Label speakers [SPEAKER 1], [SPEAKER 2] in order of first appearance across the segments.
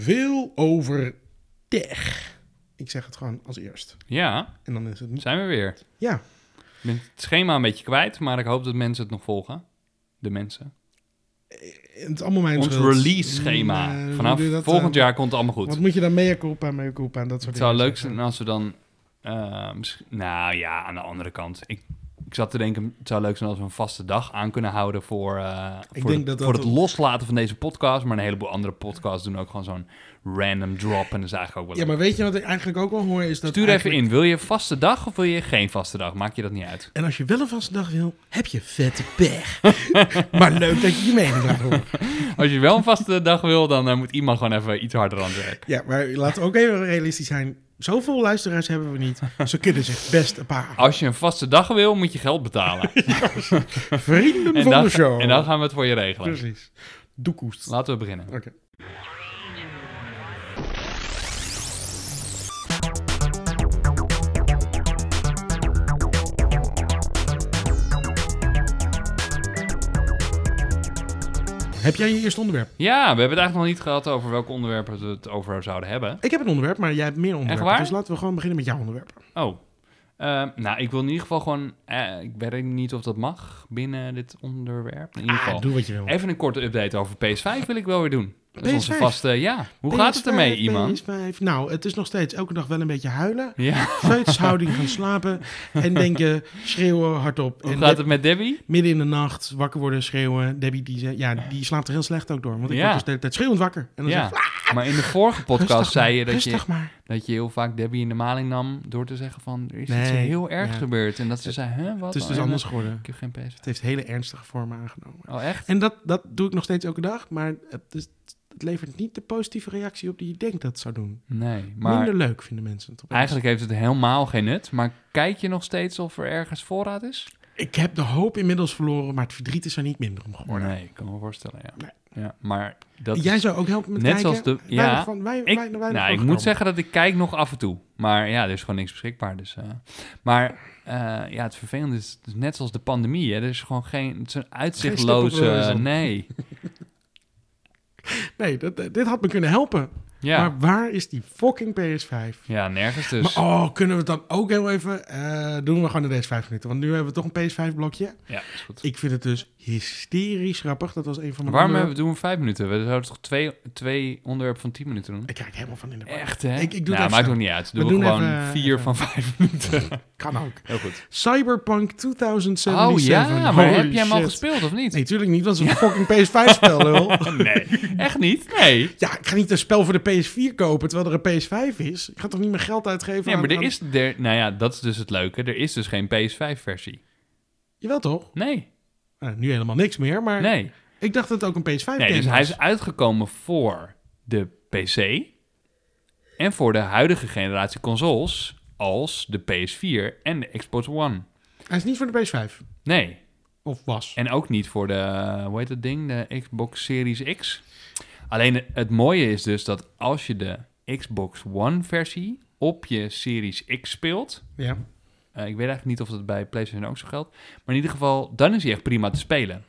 [SPEAKER 1] veel over tech. Ik zeg het gewoon als eerst.
[SPEAKER 2] Ja,
[SPEAKER 1] En dan is het...
[SPEAKER 2] zijn we weer.
[SPEAKER 1] Ja,
[SPEAKER 2] Ik ben het schema een beetje kwijt, maar ik hoop dat mensen het nog volgen. De mensen.
[SPEAKER 1] het is allemaal mijn
[SPEAKER 2] Ons
[SPEAKER 1] schuld.
[SPEAKER 2] release schema.
[SPEAKER 1] Nee, hoe
[SPEAKER 2] Vanaf
[SPEAKER 1] doe je dat,
[SPEAKER 2] volgend
[SPEAKER 1] eh,
[SPEAKER 2] jaar komt het allemaal
[SPEAKER 1] Wat
[SPEAKER 2] goed.
[SPEAKER 1] moet je dan mea culpa, mea culpa en dat soort
[SPEAKER 2] Het zou
[SPEAKER 1] dingen
[SPEAKER 2] leuk
[SPEAKER 1] zeggen?
[SPEAKER 2] zijn als we dan... eh, misschien- nou ja, aan de andere kant. Ik, ik zat te denken, het zou leuk zijn als we een vaste dag aan kunnen houden voor, eh,
[SPEAKER 1] Ik
[SPEAKER 2] voor,
[SPEAKER 1] denk
[SPEAKER 2] het,
[SPEAKER 1] dat dat
[SPEAKER 2] voor het
[SPEAKER 1] ook-
[SPEAKER 2] loslaten van deze podcast. Maar een heleboel andere podcasts doen ook gewoon zo'n random drop. En dat is eigenlijk ook wel
[SPEAKER 1] Ja, maar weet je wat ik eigenlijk ook wel hoor? Is dat
[SPEAKER 2] Stuur even
[SPEAKER 1] eigenlijk-
[SPEAKER 2] in. Wil je vaste dag of wil je geen vaste dag? Maakt je dat niet uit.
[SPEAKER 1] En als je wel een vaste dag wil, heb je vette pech. maar leuk dat je je mening laat horen.
[SPEAKER 2] Als je wel een vaste dag wil, dan eh, moet iemand gewoon even iets harder aan het werk.
[SPEAKER 1] Ja, maar laten we ook even realistisch zijn. Zoveel luisteraars hebben we niet. Ze kunnen zich best een paar
[SPEAKER 2] Als je een vaste dag wil, moet je geld betalen.
[SPEAKER 1] vrienden
[SPEAKER 2] Ah. en,
[SPEAKER 1] van
[SPEAKER 2] dan,
[SPEAKER 1] de show.
[SPEAKER 2] en dan gaan we het voor je regelen.
[SPEAKER 1] Precies. Doekoest.
[SPEAKER 2] Laten we beginnen.
[SPEAKER 1] Oké. Heb jij je eerste onderwerp?
[SPEAKER 2] Ja, we hebben het eigenlijk nog niet gehad over welke onderwerpen we het over zouden hebben.
[SPEAKER 1] Ik heb een onderwerp, maar jij hebt meer onderwerpen.
[SPEAKER 2] waar?
[SPEAKER 1] Dus laten we gewoon beginnen met jouw onderwerp.
[SPEAKER 2] Oh. Ehm, nou, ik wil in ieder geval gewoon... eh, ik weet niet of dat mag binnen dit onderwerp. In ieder
[SPEAKER 1] Ah,
[SPEAKER 2] geval.
[SPEAKER 1] doe wat je wil.
[SPEAKER 2] Even een korte update over PS5 wil ik wel weer doen. Dat is onze
[SPEAKER 1] PS5?
[SPEAKER 2] vaste... Ja, hoe gaat het ermee, iemand?
[SPEAKER 1] PS5. Nou, het is nog steeds elke dag wel een beetje huilen.
[SPEAKER 2] Ja,
[SPEAKER 1] Veutshouding gaan slapen en denken, schreeuwen hardop.
[SPEAKER 2] hoe
[SPEAKER 1] en
[SPEAKER 2] gaat
[SPEAKER 1] Deb-
[SPEAKER 2] het met Debbie?
[SPEAKER 1] midden in de nacht wakker worden, schreeuwen. Debbie, die, ze- ja, die slaapt er heel slecht ook door. Want ik
[SPEAKER 2] Ja.
[SPEAKER 1] word dus de hele tijd schreeuwend wakker. En dan zeg
[SPEAKER 2] Ja,
[SPEAKER 1] ik, "Ah,
[SPEAKER 2] maar in de vorige podcast
[SPEAKER 1] rustig maar,
[SPEAKER 2] zei je dat je,
[SPEAKER 1] Rustig maar.
[SPEAKER 2] dat je heel vaak Debbie in de maling nam... door te zeggen van, er is iets
[SPEAKER 1] Nee,
[SPEAKER 2] heel ergs
[SPEAKER 1] ja.
[SPEAKER 2] gebeurd. En dat ze zei, hè,
[SPEAKER 1] Het
[SPEAKER 2] wat?
[SPEAKER 1] is
[SPEAKER 2] Oh,
[SPEAKER 1] dus
[SPEAKER 2] ja,
[SPEAKER 1] anders geworden.
[SPEAKER 2] Ik heb geen PS5.
[SPEAKER 1] Het heeft hele ernstige vormen aangenomen.
[SPEAKER 2] Oh, echt?
[SPEAKER 1] En dat, dat doe ik nog steeds elke dag. Maar het, is- het levert niet de positieve reactie op die je denkt dat het zou doen.
[SPEAKER 2] Nee, maar
[SPEAKER 1] Minder leuk vinden mensen het opeens.
[SPEAKER 2] eigenlijk heeft het helemaal geen nut. Maar kijk je nog steeds of er ergens voorraad is?
[SPEAKER 1] Ik heb de hoop inmiddels verloren, maar het verdriet is er niet minder om geworden.
[SPEAKER 2] Nee, ik kan me voorstellen, ja.
[SPEAKER 1] Nee.
[SPEAKER 2] ja maar dat...
[SPEAKER 1] Jij zou ook helpen met
[SPEAKER 2] Net
[SPEAKER 1] kijken.
[SPEAKER 2] zoals de-
[SPEAKER 1] Weinig
[SPEAKER 2] ja,
[SPEAKER 1] van- wij-
[SPEAKER 2] ik,
[SPEAKER 1] weinig- weinig
[SPEAKER 2] nou,
[SPEAKER 1] van
[SPEAKER 2] ik moet
[SPEAKER 1] genomen.
[SPEAKER 2] zeggen dat ik kijk nog af en toe. Maar ja, er is gewoon niks beschikbaar. Dus, eh. maar eh, ja, het vervelende is, het is net zoals de pandemie. Hè, er is gewoon geen... Het is een uitzichtloze...
[SPEAKER 1] stip op de horizon.
[SPEAKER 2] nee.
[SPEAKER 1] Nee, dat, dit had me kunnen helpen.
[SPEAKER 2] Ja.
[SPEAKER 1] Maar waar is die fucking PS5?
[SPEAKER 2] ja, nergens dus.
[SPEAKER 1] Maar oh, kunnen we het dan ook heel even... eh, doen we gewoon in deze vijf minuten. Want nu hebben we toch een PS5-blokje.
[SPEAKER 2] ja, is goed.
[SPEAKER 1] Ik vind het dus hysterisch grappig. Dat was een van mijn...
[SPEAKER 2] Waarom hebben
[SPEAKER 1] onderwerpen.
[SPEAKER 2] we doen we vijf minuten? We zouden toch twee, twee onderwerpen van tien minuten doen?
[SPEAKER 1] Ik kijk helemaal van in de war.
[SPEAKER 2] Echt,
[SPEAKER 1] Ik-
[SPEAKER 2] hè?
[SPEAKER 1] ik doe het
[SPEAKER 2] nou,
[SPEAKER 1] even
[SPEAKER 2] maakt
[SPEAKER 1] snel.
[SPEAKER 2] ook niet uit.
[SPEAKER 1] We
[SPEAKER 2] Doe we
[SPEAKER 1] doen
[SPEAKER 2] gewoon
[SPEAKER 1] even-
[SPEAKER 2] vier
[SPEAKER 1] even.
[SPEAKER 2] van vijf minuten.
[SPEAKER 1] Kan ook.
[SPEAKER 2] Heel goed.
[SPEAKER 1] Cyberpunk 2077.
[SPEAKER 2] Oh ja, maar
[SPEAKER 1] Holy
[SPEAKER 2] heb jij hem al
[SPEAKER 1] shit.
[SPEAKER 2] gespeeld of niet? Oh,
[SPEAKER 1] Nee, natuurlijk niet. Dat is een fucking PS5-spel, lul.
[SPEAKER 2] Nee. Echt niet? Nee.
[SPEAKER 1] Ja, ik ga niet een spel voor de PS4 kopen terwijl er een PS5 is. Ik ga toch niet mijn geld uitgeven
[SPEAKER 2] Nee,
[SPEAKER 1] aan-
[SPEAKER 2] maar er
[SPEAKER 1] aan-
[SPEAKER 2] is... Er, nou ja, dat is dus het leuke. Er is dus geen PS5-versie.
[SPEAKER 1] Jawel toch?
[SPEAKER 2] Nee.
[SPEAKER 1] Nou, nu helemaal niks meer, maar
[SPEAKER 2] Nee.
[SPEAKER 1] ik dacht dat het ook een PS5
[SPEAKER 2] Nee, dus
[SPEAKER 1] game
[SPEAKER 2] hij
[SPEAKER 1] was.
[SPEAKER 2] is uitgekomen voor de PC... en voor de huidige generatie consoles... als de PS4 en de Xbox One.
[SPEAKER 1] Hij is niet voor de PS5.
[SPEAKER 2] Nee.
[SPEAKER 1] Of was.
[SPEAKER 2] En ook niet voor de, eh, hoe heet dat ding, de Xbox Series X. Alleen het- het mooie is dus dat als je de Xbox One versie op je Series X speelt...
[SPEAKER 1] Ja.
[SPEAKER 2] eh, ik weet eigenlijk niet of dat bij PlayStation ook zo geldt... maar in ieder geval, dan is hij echt prima te spelen.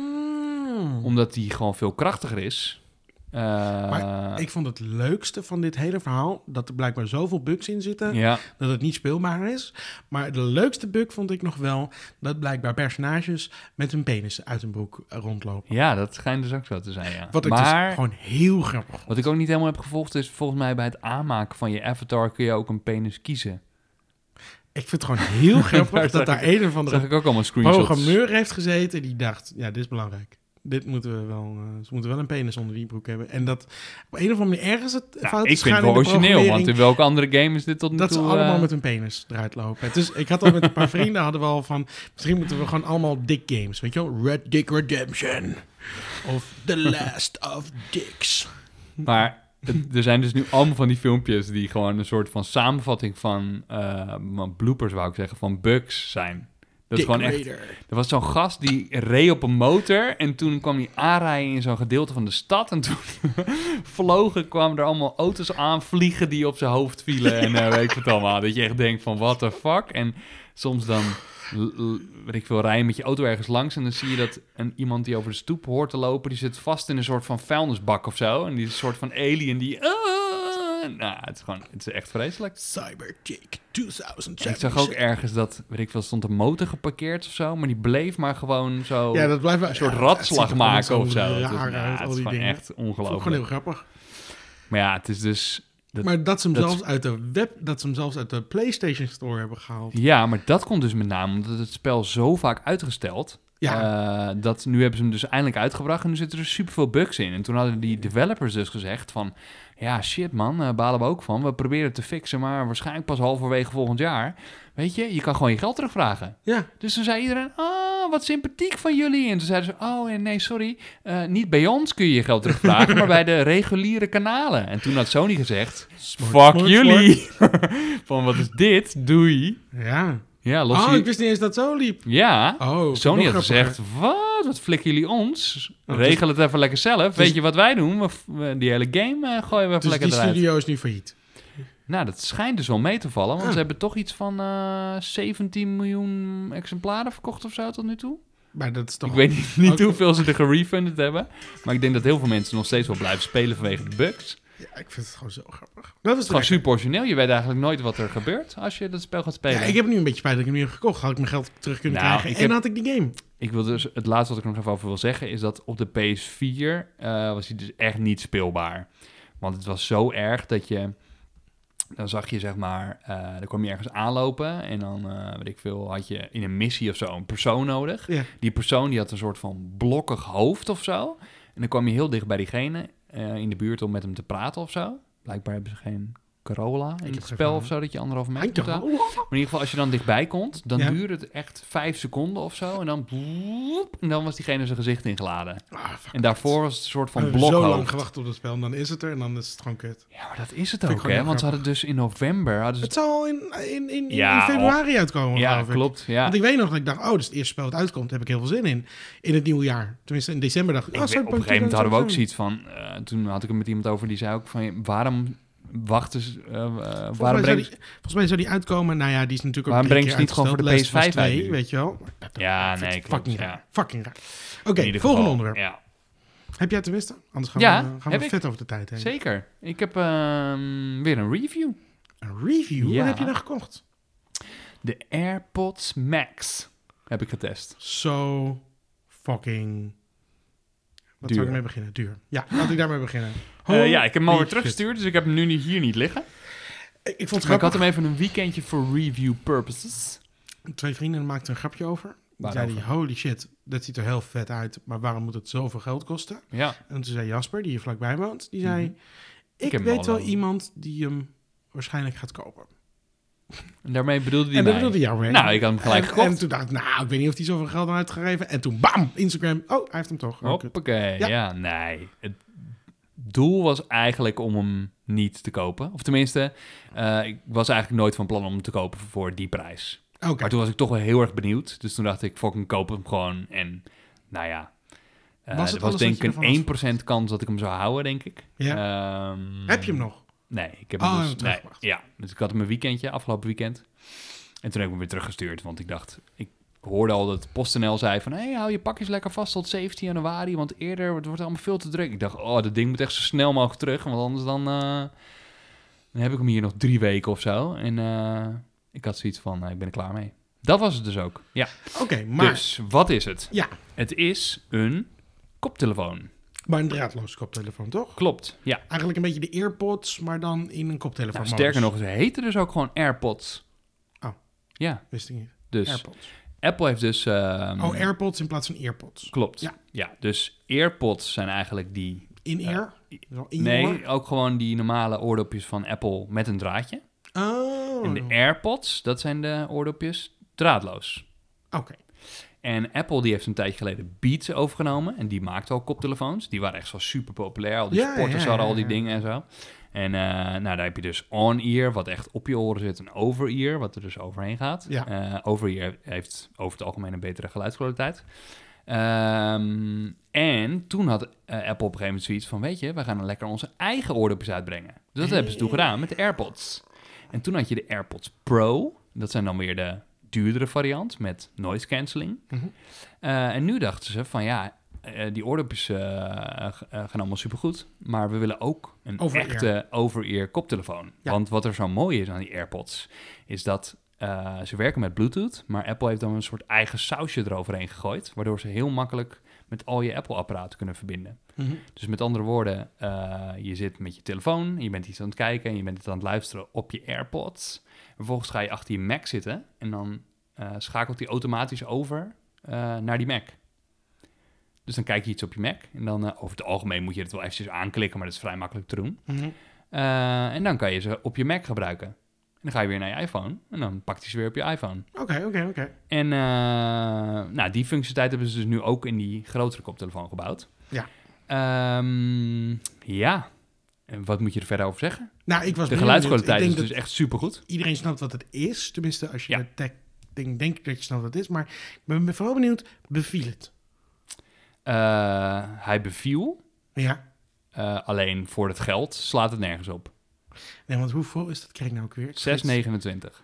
[SPEAKER 1] Mm.
[SPEAKER 2] Omdat hij gewoon veel krachtiger is. Eh,
[SPEAKER 1] Ik vond het leukste van dit hele verhaal dat er blijkbaar zoveel bugs in zitten
[SPEAKER 2] ja,
[SPEAKER 1] dat het niet speelbaar is. Maar de leukste bug vond ik nog wel dat blijkbaar personages met hun penis uit hun broek eh, rondlopen.
[SPEAKER 2] ja, dat schijnt dus ook zo te zijn, ja.
[SPEAKER 1] Wat ik
[SPEAKER 2] maar
[SPEAKER 1] dus gewoon heel grappig vond.
[SPEAKER 2] wat ik ook niet helemaal heb gevolgd is... volgens mij bij het aanmaken van je avatar kun je ook een penis kiezen.
[SPEAKER 1] Ik vind het gewoon heel
[SPEAKER 2] Daar
[SPEAKER 1] grappig
[SPEAKER 2] zag
[SPEAKER 1] dat daar een of
[SPEAKER 2] Dat zag
[SPEAKER 1] andere
[SPEAKER 2] ik ook allemaal screenshots.
[SPEAKER 1] programmeur heeft gezeten die dacht, ja, dit is belangrijk. Dit moeten we wel, eh, ze moeten wel een penis onder die broek hebben. En dat op een of andere manier ergens het
[SPEAKER 2] Nou,
[SPEAKER 1] fout
[SPEAKER 2] ik
[SPEAKER 1] is
[SPEAKER 2] vind
[SPEAKER 1] gegaan in
[SPEAKER 2] het wel
[SPEAKER 1] de
[SPEAKER 2] origineel,
[SPEAKER 1] programmering.
[SPEAKER 2] want eh, in welke andere game is dit tot nu
[SPEAKER 1] Dat ze
[SPEAKER 2] toe...
[SPEAKER 1] allemaal
[SPEAKER 2] eh,
[SPEAKER 1] met hun penis eruit lopen. Dus ik had al met een paar vrienden hadden we al van... Misschien moeten we gewoon allemaal dick games. Weet je wel? Red Dick Redemption. Of The Last of Dicks.
[SPEAKER 2] Maar het- er zijn dus nu allemaal van die filmpjes die gewoon een soort van samenvatting van... eh, van bloopers, wou ik zeggen, van bugs zijn. Dat is
[SPEAKER 1] dick
[SPEAKER 2] gewoon echt...
[SPEAKER 1] Raider.
[SPEAKER 2] Er was zo'n gast die reed op een motor en toen kwam hij aanrijden in zo'n gedeelte van de stad. En toen vlogen, kwamen er allemaal auto's aanvliegen die op zijn hoofd vielen en eh, weet ik wat allemaal. Dat je echt denkt van, what the fuck? En soms dan l- l- weet ik veel, rijden met je auto ergens langs. En dan zie je dat een, iemand die over de stoep hoort te lopen, die zit vast in een soort van vuilnisbak of zo. En die is een soort van alien die... Ah, nou, het is gewoon, het is echt vreselijk.
[SPEAKER 1] Cyberchick 2007.
[SPEAKER 2] En Ik zag ook ergens dat, weet ik veel, stond een motor geparkeerd of zo, maar die bleef maar gewoon zo
[SPEAKER 1] ja, dat blijft wel-
[SPEAKER 2] een soort
[SPEAKER 1] ja,
[SPEAKER 2] ratslag
[SPEAKER 1] het ziet er allemaal
[SPEAKER 2] maken of zo. Het is,
[SPEAKER 1] Raar
[SPEAKER 2] nou,
[SPEAKER 1] uit, al
[SPEAKER 2] het is
[SPEAKER 1] die
[SPEAKER 2] gewoon
[SPEAKER 1] dingen.
[SPEAKER 2] echt
[SPEAKER 1] Vond ik gewoon
[SPEAKER 2] ongelooflijk.
[SPEAKER 1] heel grappig.
[SPEAKER 2] Maar ja, het is dus Dat-
[SPEAKER 1] maar dat ze, hem
[SPEAKER 2] dat-
[SPEAKER 1] zelfs uit de web, dat ze hem zelfs uit de PlayStation Store hebben gehaald.
[SPEAKER 2] Ja, maar dat komt dus met name omdat het spel zo vaak uitgesteld.
[SPEAKER 1] Ja,
[SPEAKER 2] eh, dat nu hebben ze hem dus eindelijk uitgebracht en nu zitten er superveel bugs in. En toen hadden die developers dus gezegd van... Ja, shit man, eh balen we ook van. We proberen het te fixen, maar waarschijnlijk pas halverwege volgend jaar. Weet je, je kan gewoon je geld terugvragen.
[SPEAKER 1] ja.
[SPEAKER 2] Dus toen zei iedereen, oh, wat sympathiek van jullie. En toen zeiden ze, oh eh, nee, sorry, eh, niet bij ons kun je je geld terugvragen, maar bij de reguliere kanalen. En toen had Sony gezegd,
[SPEAKER 1] Smart,
[SPEAKER 2] fuck
[SPEAKER 1] smart,
[SPEAKER 2] jullie. van wat is dit? Doei.
[SPEAKER 1] ja.
[SPEAKER 2] Ja, los
[SPEAKER 1] Oh,
[SPEAKER 2] jullie-
[SPEAKER 1] ik wist niet eens dat het zo liep.
[SPEAKER 2] Ja,
[SPEAKER 1] Oh,
[SPEAKER 2] Sony
[SPEAKER 1] nog
[SPEAKER 2] had
[SPEAKER 1] grappiger.
[SPEAKER 2] gezegd, wat, wat flikken jullie ons?
[SPEAKER 1] Oh,
[SPEAKER 2] Regel het even lekker zelf.
[SPEAKER 1] dus-
[SPEAKER 2] Weet je wat wij doen? We, we- die hele game eh, gooien we even
[SPEAKER 1] Dus
[SPEAKER 2] lekker
[SPEAKER 1] die
[SPEAKER 2] eruit.
[SPEAKER 1] studio is nu failliet.
[SPEAKER 2] Nou, dat schijnt dus wel mee te vallen, want
[SPEAKER 1] Ah.
[SPEAKER 2] ze hebben toch iets van eh, 17 miljoen exemplaren verkocht of zo tot nu toe.
[SPEAKER 1] Maar dat is toch...
[SPEAKER 2] Ik weet niet, niet
[SPEAKER 1] Oké.
[SPEAKER 2] hoeveel ze er gerefunded hebben. Maar ik denk dat heel veel mensen nog steeds wel blijven spelen vanwege de bugs. Het
[SPEAKER 1] Ja, ik vind het gewoon zo grappig. Dat was
[SPEAKER 2] is gewoon
[SPEAKER 1] het.
[SPEAKER 2] super origineel. Je weet eigenlijk nooit wat er gebeurt als je dat spel gaat spelen.
[SPEAKER 1] Ja, ik heb nu een beetje spijt dat ik hem niet heb gekocht. Had ik mijn geld terug kunnen
[SPEAKER 2] Nou,
[SPEAKER 1] krijgen
[SPEAKER 2] ik
[SPEAKER 1] en
[SPEAKER 2] heb-
[SPEAKER 1] had ik die game.
[SPEAKER 2] Ik wil dus, het laatste wat ik er nog even over wil zeggen is dat op de PS4 eh, was hij dus echt niet speelbaar. Want het was zo erg dat je, dan zag je zeg maar, eh, dan kwam je ergens aanlopen en dan, eh, weet ik veel, had je in een missie of zo een persoon nodig.
[SPEAKER 1] Ja.
[SPEAKER 2] Die persoon die had een soort van blokkig hoofd of zo. En dan kwam je heel dicht bij diegene eh, in de buurt om met hem te praten of zo. Blijkbaar hebben ze geen Corolla in
[SPEAKER 1] heb
[SPEAKER 2] het
[SPEAKER 1] geen
[SPEAKER 2] spel
[SPEAKER 1] Corolla.
[SPEAKER 2] of zo, dat je anderhalve meter moet houden.
[SPEAKER 1] Eindhoven.
[SPEAKER 2] Maar in ieder geval, als je dan dichtbij komt, dan
[SPEAKER 1] Ja.
[SPEAKER 2] duurt het echt vijf seconden of zo. En dan, bloep, en dan was diegene zijn gezicht ingeladen.
[SPEAKER 1] Ah, fuck.
[SPEAKER 2] En daarvoor was het een soort
[SPEAKER 1] We
[SPEAKER 2] van
[SPEAKER 1] hebben zo lang
[SPEAKER 2] blokhoofd. Dus-
[SPEAKER 1] gewacht op dat spel en dan is het er en dan is het gewoon kut.
[SPEAKER 2] Ja, maar dat is het
[SPEAKER 1] Vind ik
[SPEAKER 2] ook,
[SPEAKER 1] gewoon
[SPEAKER 2] hè?
[SPEAKER 1] heel
[SPEAKER 2] Want ze hadden dus in november... Hadden ze...
[SPEAKER 1] Het zou al in, in, in, in
[SPEAKER 2] Ja,
[SPEAKER 1] februari uitkomen,
[SPEAKER 2] Ja,
[SPEAKER 1] geloof ik.
[SPEAKER 2] klopt. Ja.
[SPEAKER 1] Want ik weet nog dat ik dacht, oh, dat is het eerste spel dat uitkomt. Daar heb ik heel veel zin in. In het nieuwe jaar. Tenminste, in december dacht ik,
[SPEAKER 2] Ik
[SPEAKER 1] oh,
[SPEAKER 2] weet-
[SPEAKER 1] sorry,
[SPEAKER 2] op een gegeven moment hadden we ook zoiets van... eh, toen had ik het met iemand over, die zei ook van... Waarom wachten ze... eh, eh, waarom
[SPEAKER 1] Volgens mij, zou
[SPEAKER 2] brengen
[SPEAKER 1] die, volgens mij zou die uitkomen. Nou ja, die is natuurlijk ook
[SPEAKER 2] Waarom
[SPEAKER 1] drie
[SPEAKER 2] brengen ze
[SPEAKER 1] keer
[SPEAKER 2] niet gewoon voor de
[SPEAKER 1] uitgesteld. Last
[SPEAKER 2] PS5
[SPEAKER 1] was
[SPEAKER 2] uit
[SPEAKER 1] twee,
[SPEAKER 2] nu?
[SPEAKER 1] weet je wel.
[SPEAKER 2] ze- Ja,
[SPEAKER 1] Ik vind
[SPEAKER 2] nee,
[SPEAKER 1] het
[SPEAKER 2] klopt.
[SPEAKER 1] Fucking
[SPEAKER 2] Ja.
[SPEAKER 1] raar. Fucking raar. Oké,
[SPEAKER 2] In ieder
[SPEAKER 1] volgende
[SPEAKER 2] geval.
[SPEAKER 1] onderwerp.
[SPEAKER 2] Ja,
[SPEAKER 1] Heb jij het tenminste? Anders gaan
[SPEAKER 2] Ja,
[SPEAKER 1] we, gaan
[SPEAKER 2] heb
[SPEAKER 1] we
[SPEAKER 2] ik.
[SPEAKER 1] vet over de tijd heen.
[SPEAKER 2] zeker. Ik heb ehm, weer een review.
[SPEAKER 1] Een review?
[SPEAKER 2] Ja.
[SPEAKER 1] Wat heb je nou gekocht?
[SPEAKER 2] De AirPods Max heb ik getest.
[SPEAKER 1] Zo fucking... Wat
[SPEAKER 2] Duur.
[SPEAKER 1] zou ik mee beginnen? Duur. Ja, laat ik daarmee beginnen.
[SPEAKER 2] Eh, ja, ik heb hem
[SPEAKER 1] Holy
[SPEAKER 2] alweer
[SPEAKER 1] shit.
[SPEAKER 2] teruggestuurd, dus ik heb hem nu niet- hier niet liggen.
[SPEAKER 1] Ik, ik vond het
[SPEAKER 2] Maar ik
[SPEAKER 1] grappig.
[SPEAKER 2] had hem even een weekendje voor review purposes.
[SPEAKER 1] Twee vrienden maakten een grapje over. Die
[SPEAKER 2] Waarover?
[SPEAKER 1] zeiden, holy shit, dat ziet er heel vet uit. Maar waarom moet het zoveel geld kosten?
[SPEAKER 2] Ja,
[SPEAKER 1] En toen zei Jasper, die hier vlakbij woont, die zei...
[SPEAKER 2] Mhm.
[SPEAKER 1] Ik,
[SPEAKER 2] heb hem
[SPEAKER 1] weet
[SPEAKER 2] al
[SPEAKER 1] wel
[SPEAKER 2] lang.
[SPEAKER 1] iemand die hem waarschijnlijk gaat kopen.
[SPEAKER 2] en daarmee bedoelde hij
[SPEAKER 1] en
[SPEAKER 2] mij.
[SPEAKER 1] dat bedoelde jou weer.
[SPEAKER 2] Nou, ik had hem gelijk
[SPEAKER 1] en,
[SPEAKER 2] gekocht.
[SPEAKER 1] En toen dacht ik, nou, ik weet niet of hij zoveel geld aan uitgegeven. En toen bam, Instagram. Oh, hij heeft hem toch. Oh, kut.
[SPEAKER 2] Hoppakee, ja.
[SPEAKER 1] Ja.
[SPEAKER 2] nee. Het doel was eigenlijk om hem niet te kopen. Of tenminste, eh, ik was eigenlijk nooit van plan om hem te kopen voor die prijs.
[SPEAKER 1] Oké.
[SPEAKER 2] Maar toen was ik toch wel heel erg benieuwd. Dus toen dacht ik, fucking koop hem gewoon. En nou ja, eh,
[SPEAKER 1] Was het
[SPEAKER 2] er was
[SPEAKER 1] alles
[SPEAKER 2] denk
[SPEAKER 1] wat je
[SPEAKER 2] ik
[SPEAKER 1] ervan was?
[SPEAKER 2] een 1% kans dat ik hem zou houden, denk ik. Ehm,
[SPEAKER 1] Heb je hem nog?
[SPEAKER 2] Nee, ik heb
[SPEAKER 1] Oh,
[SPEAKER 2] hem
[SPEAKER 1] hij heeft hem
[SPEAKER 2] dus... Nee,
[SPEAKER 1] teruggebracht.
[SPEAKER 2] ja, dus ik had hem een weekendje, afgelopen weekend. En toen heb ik hem weer teruggestuurd, want ik dacht... Ik hoorde al dat PostNL zei van... hey, hou je pakjes lekker vast tot 17 januari, want eerder het wordt allemaal veel te druk. Ik dacht, oh, dat ding moet echt zo snel mogelijk terug, want anders dan... eh, dan heb ik hem hier nog drie weken of zo. En eh, ik had zoiets van, eh, ik ben er klaar mee. Dat was het dus ook, ja.
[SPEAKER 1] Oké, maar,
[SPEAKER 2] Dus, wat is het?
[SPEAKER 1] Ja.
[SPEAKER 2] Het is een koptelefoon.
[SPEAKER 1] maar een draadloze koptelefoon, toch?
[SPEAKER 2] Klopt, ja.
[SPEAKER 1] Eigenlijk een beetje de earpods, maar dan in een koptelefoon.
[SPEAKER 2] Nou, sterker nog, ze heten dus ook gewoon AirPods.
[SPEAKER 1] Oh.
[SPEAKER 2] Ja,
[SPEAKER 1] Wist ik niet.
[SPEAKER 2] dus...
[SPEAKER 1] Airpods.
[SPEAKER 2] Apple heeft dus... ehm,
[SPEAKER 1] Oh, AirPods in plaats van earpods.
[SPEAKER 2] Klopt. Ja.
[SPEAKER 1] Ja.
[SPEAKER 2] dus AirPods zijn eigenlijk die...
[SPEAKER 1] In ear? in
[SPEAKER 2] nee,
[SPEAKER 1] je oor?
[SPEAKER 2] ook gewoon die normale oordopjes van Apple met een draadje.
[SPEAKER 1] Oh.
[SPEAKER 2] en de AirPods, dat zijn de oordopjes draadloos.
[SPEAKER 1] Oké.
[SPEAKER 2] En Apple die heeft een tijdje geleden Beats overgenomen. En die maakte al koptelefoons. Die waren echt zo super populair. Al die
[SPEAKER 1] Ja,
[SPEAKER 2] sporters
[SPEAKER 1] ja,
[SPEAKER 2] hadden
[SPEAKER 1] ja,
[SPEAKER 2] al die
[SPEAKER 1] ja.
[SPEAKER 2] dingen en zo. En eh, nou, daar heb je dus on-ear, wat echt op je oren zit. En over-ear, wat er dus overheen gaat.
[SPEAKER 1] Ja.
[SPEAKER 2] Eh, over-ear heeft over het algemeen een betere geluidskwaliteit. Ehm, en toen had eh, Apple op een gegeven moment zoiets van... weet je, wij gaan dan lekker onze eigen oordopjes uitbrengen. Dus dat hebben ze toen gedaan met de AirPods. En toen had je de AirPods Pro. Dat zijn dan weer de duurdere variant met noise cancelling.
[SPEAKER 1] Mhm.
[SPEAKER 2] Eh, en nu dachten ze van ja, eh, die oordopjes eh, eh, gaan allemaal supergoed, maar we willen ook een
[SPEAKER 1] Over-ear.
[SPEAKER 2] echte over-ear koptelefoon.
[SPEAKER 1] Ja.
[SPEAKER 2] Want wat er zo mooi is aan die AirPods, is dat eh, ze werken met Bluetooth, maar Apple heeft dan een soort eigen sausje eroverheen gegooid, waardoor ze heel makkelijk met al je Apple-apparaten kunnen verbinden.
[SPEAKER 1] Mhm.
[SPEAKER 2] Dus met andere woorden, eh, je zit met je telefoon, je bent iets aan het kijken en je bent het aan het luisteren op je AirPods. Vervolgens ga je achter je Mac zitten en dan eh, schakelt hij automatisch over eh, naar die Mac. Dus dan kijk je iets op je Mac en dan eh, over het algemeen moet je het wel eventjes aanklikken, maar dat is vrij makkelijk te doen.
[SPEAKER 1] Mhm.
[SPEAKER 2] Eh, en dan kan je ze op je Mac gebruiken. En dan ga je weer naar je iPhone en dan pakt hij ze weer op je iPhone.
[SPEAKER 1] Oké, oké, oké.
[SPEAKER 2] En eh, nou, die functionaliteit hebben ze dus nu ook in die grotere koptelefoon gebouwd.
[SPEAKER 1] Ja.
[SPEAKER 2] Ehm, ja. En wat moet je er verder over zeggen?
[SPEAKER 1] Nou, ik was
[SPEAKER 2] De
[SPEAKER 1] benieuwd.
[SPEAKER 2] geluidskwaliteit
[SPEAKER 1] Ik
[SPEAKER 2] is
[SPEAKER 1] denk
[SPEAKER 2] dus
[SPEAKER 1] dat
[SPEAKER 2] echt supergoed.
[SPEAKER 1] iedereen snapt wat het is. Tenminste, als je
[SPEAKER 2] Ja.
[SPEAKER 1] de tech ding denk ik dat je snapt wat het is. Maar ik ben vooral benieuwd, beviel het?
[SPEAKER 2] Eh, hij beviel.
[SPEAKER 1] Ja.
[SPEAKER 2] eh, alleen voor het geld slaat het nergens op.
[SPEAKER 1] Nee, want hoeveel is dat krijg nou ook weer?
[SPEAKER 2] 6,29.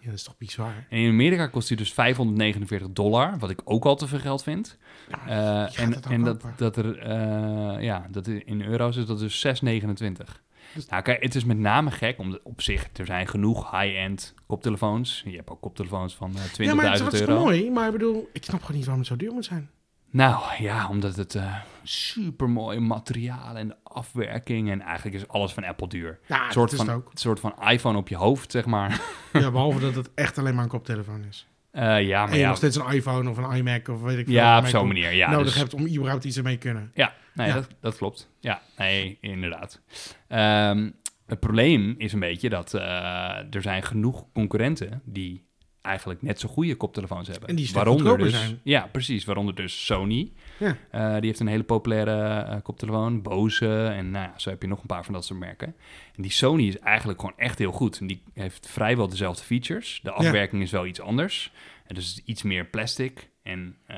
[SPEAKER 1] Ja, dat is toch bizar.
[SPEAKER 2] En in Amerika kost hij dus 549 dollar, wat ik ook al te veel geld vind.
[SPEAKER 1] Ja,
[SPEAKER 2] Eh,
[SPEAKER 1] gaat
[SPEAKER 2] en
[SPEAKER 1] het ook
[SPEAKER 2] en dat,
[SPEAKER 1] kopen.
[SPEAKER 2] dat er, eh, ja, dat i- in euro's is dat dus 6,29.
[SPEAKER 1] Dus-
[SPEAKER 2] Nou, kijk, het is met name gek, omdat op zich, er zijn genoeg high-end koptelefoons. Je hebt ook koptelefoons van eh, 20.000
[SPEAKER 1] ja, maar het is hartstikke
[SPEAKER 2] euro.
[SPEAKER 1] mooi. Maar ik bedoel, ik snap gewoon niet waarom het zo duur moet zijn.
[SPEAKER 2] Nou ja, omdat het eh supermooi materiaal en de afwerking en eigenlijk is alles van Apple duur.
[SPEAKER 1] Ja,
[SPEAKER 2] Een soort,
[SPEAKER 1] dat is het
[SPEAKER 2] van,
[SPEAKER 1] ook.
[SPEAKER 2] een soort van iPhone op je hoofd, zeg maar.
[SPEAKER 1] Ja, behalve dat het echt alleen maar een koptelefoon is.
[SPEAKER 2] Eh, ja,
[SPEAKER 1] en
[SPEAKER 2] maar
[SPEAKER 1] je
[SPEAKER 2] ja,
[SPEAKER 1] nog steeds een iPhone of een iMac of weet ik veel.
[SPEAKER 2] ja, op
[SPEAKER 1] Mac
[SPEAKER 2] zo'n manier. Ja,
[SPEAKER 1] nodig
[SPEAKER 2] dus-
[SPEAKER 1] hebt om überhaupt iets ermee te kunnen.
[SPEAKER 2] Ja, nee,
[SPEAKER 1] Ja.
[SPEAKER 2] Dat, dat klopt. Ja, nee, inderdaad. Ehm, het probleem is een beetje dat eh, er zijn genoeg concurrenten die eigenlijk net zo goede koptelefoons hebben.
[SPEAKER 1] En die stuk
[SPEAKER 2] waaronder
[SPEAKER 1] goedkoper
[SPEAKER 2] dus,
[SPEAKER 1] zijn.
[SPEAKER 2] Ja, precies. Waaronder dus Sony.
[SPEAKER 1] Ja.
[SPEAKER 2] Eh, die heeft een hele populaire eh, koptelefoon, Bose. En nou ja, zo heb je nog een paar van dat soort merken. En die Sony is eigenlijk gewoon echt heel goed. En die heeft vrijwel dezelfde features. De afwerking is wel iets anders. En dus iets meer plastic. En eh,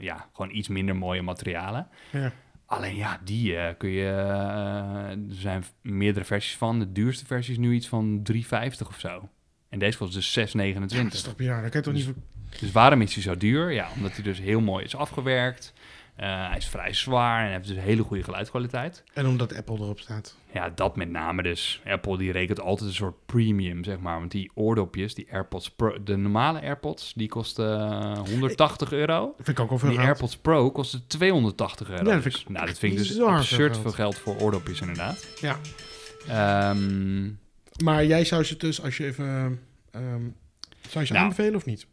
[SPEAKER 2] ja, gewoon iets minder mooie materialen.
[SPEAKER 1] Ja.
[SPEAKER 2] Alleen ja, die eh, kun je. eh, er zijn meerdere versies van. De duurste versie is nu iets van 3,50 of zo. En deze kost dus 6,29.
[SPEAKER 1] Ja, dat is toch bizar. Dat kan je toch niet... voor-
[SPEAKER 2] Dus waarom is hij zo duur? Ja, omdat hij dus heel mooi is afgewerkt. Eh, hij is vrij zwaar en heeft dus hele goede geluidskwaliteit.
[SPEAKER 1] En omdat Apple erop staat.
[SPEAKER 2] Ja, dat met name dus. Apple die rekent altijd een soort premium, zeg maar. Want die oordopjes, die AirPods Pro, de normale AirPods, die kosten eh, 180 euro.
[SPEAKER 1] Dat vind ik ook al veel
[SPEAKER 2] Die
[SPEAKER 1] geld.
[SPEAKER 2] AirPods Pro kostte 280 euro.
[SPEAKER 1] Ja, dat vind
[SPEAKER 2] dus.
[SPEAKER 1] ik
[SPEAKER 2] nou, dat vind ik dus
[SPEAKER 1] bizar veel
[SPEAKER 2] absurd
[SPEAKER 1] geld.
[SPEAKER 2] veel geld voor oordopjes inderdaad.
[SPEAKER 1] Ja.
[SPEAKER 2] Ehm,
[SPEAKER 1] Maar jij zou ze dus, als je even... ehm, zou je ze
[SPEAKER 2] Nou.
[SPEAKER 1] aanbevelen of niet?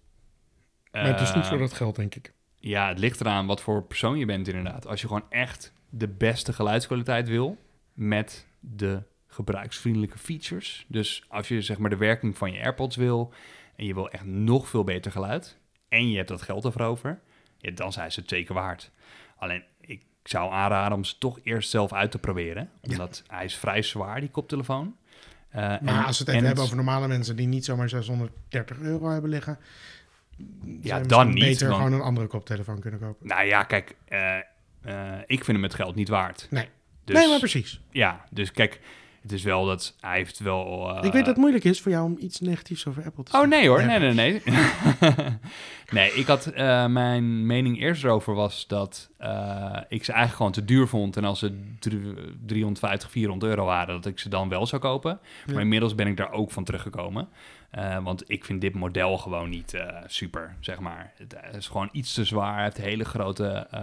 [SPEAKER 1] maar het is
[SPEAKER 2] eh,
[SPEAKER 1] niet voor dat geld, denk ik.
[SPEAKER 2] Ja, het ligt eraan wat voor persoon je bent inderdaad. Als je gewoon echt de beste geluidskwaliteit wil met de gebruiksvriendelijke features. Dus als je zeg maar de werking van je AirPods wil en je wil echt nog veel beter geluid en je hebt dat geld ervoor over, ja, dan zijn ze het zeker waard. Alleen ik zou aanraden om ze toch eerst zelf uit te proberen, omdat hij is vrij zwaar die koptelefoon. Eh,
[SPEAKER 1] Maar
[SPEAKER 2] en-
[SPEAKER 1] als we het
[SPEAKER 2] en
[SPEAKER 1] even hebben over normale mensen die niet zomaar 630 euro hebben liggen... zou je misschien
[SPEAKER 2] dan niet,
[SPEAKER 1] beter
[SPEAKER 2] want-
[SPEAKER 1] gewoon een andere koptelefoon kunnen kopen.
[SPEAKER 2] Nou ja, kijk, eh, eh, ik vind hem het geld niet waard.
[SPEAKER 1] Nee.
[SPEAKER 2] Dus,
[SPEAKER 1] Nee, maar precies.
[SPEAKER 2] Ja, dus kijk, het is wel dat hij heeft wel... eh,
[SPEAKER 1] ik weet dat het moeilijk is voor jou om iets negatiefs over Apple te
[SPEAKER 2] Oh nee hoor,
[SPEAKER 1] Ja.
[SPEAKER 2] nee, nee, nee. nee, ik had... eh, mijn mening eerst erover was dat eh, ik ze eigenlijk gewoon te duur vond. En als ze drie- 350, 400 euro waren, dat ik ze dan wel zou kopen.
[SPEAKER 1] Ja.
[SPEAKER 2] Maar inmiddels ben ik daar ook van teruggekomen. Eh, want ik vind dit model gewoon niet eh, super, zeg maar. Het eh, is gewoon iets te zwaar. Hij heeft hele grote, eh,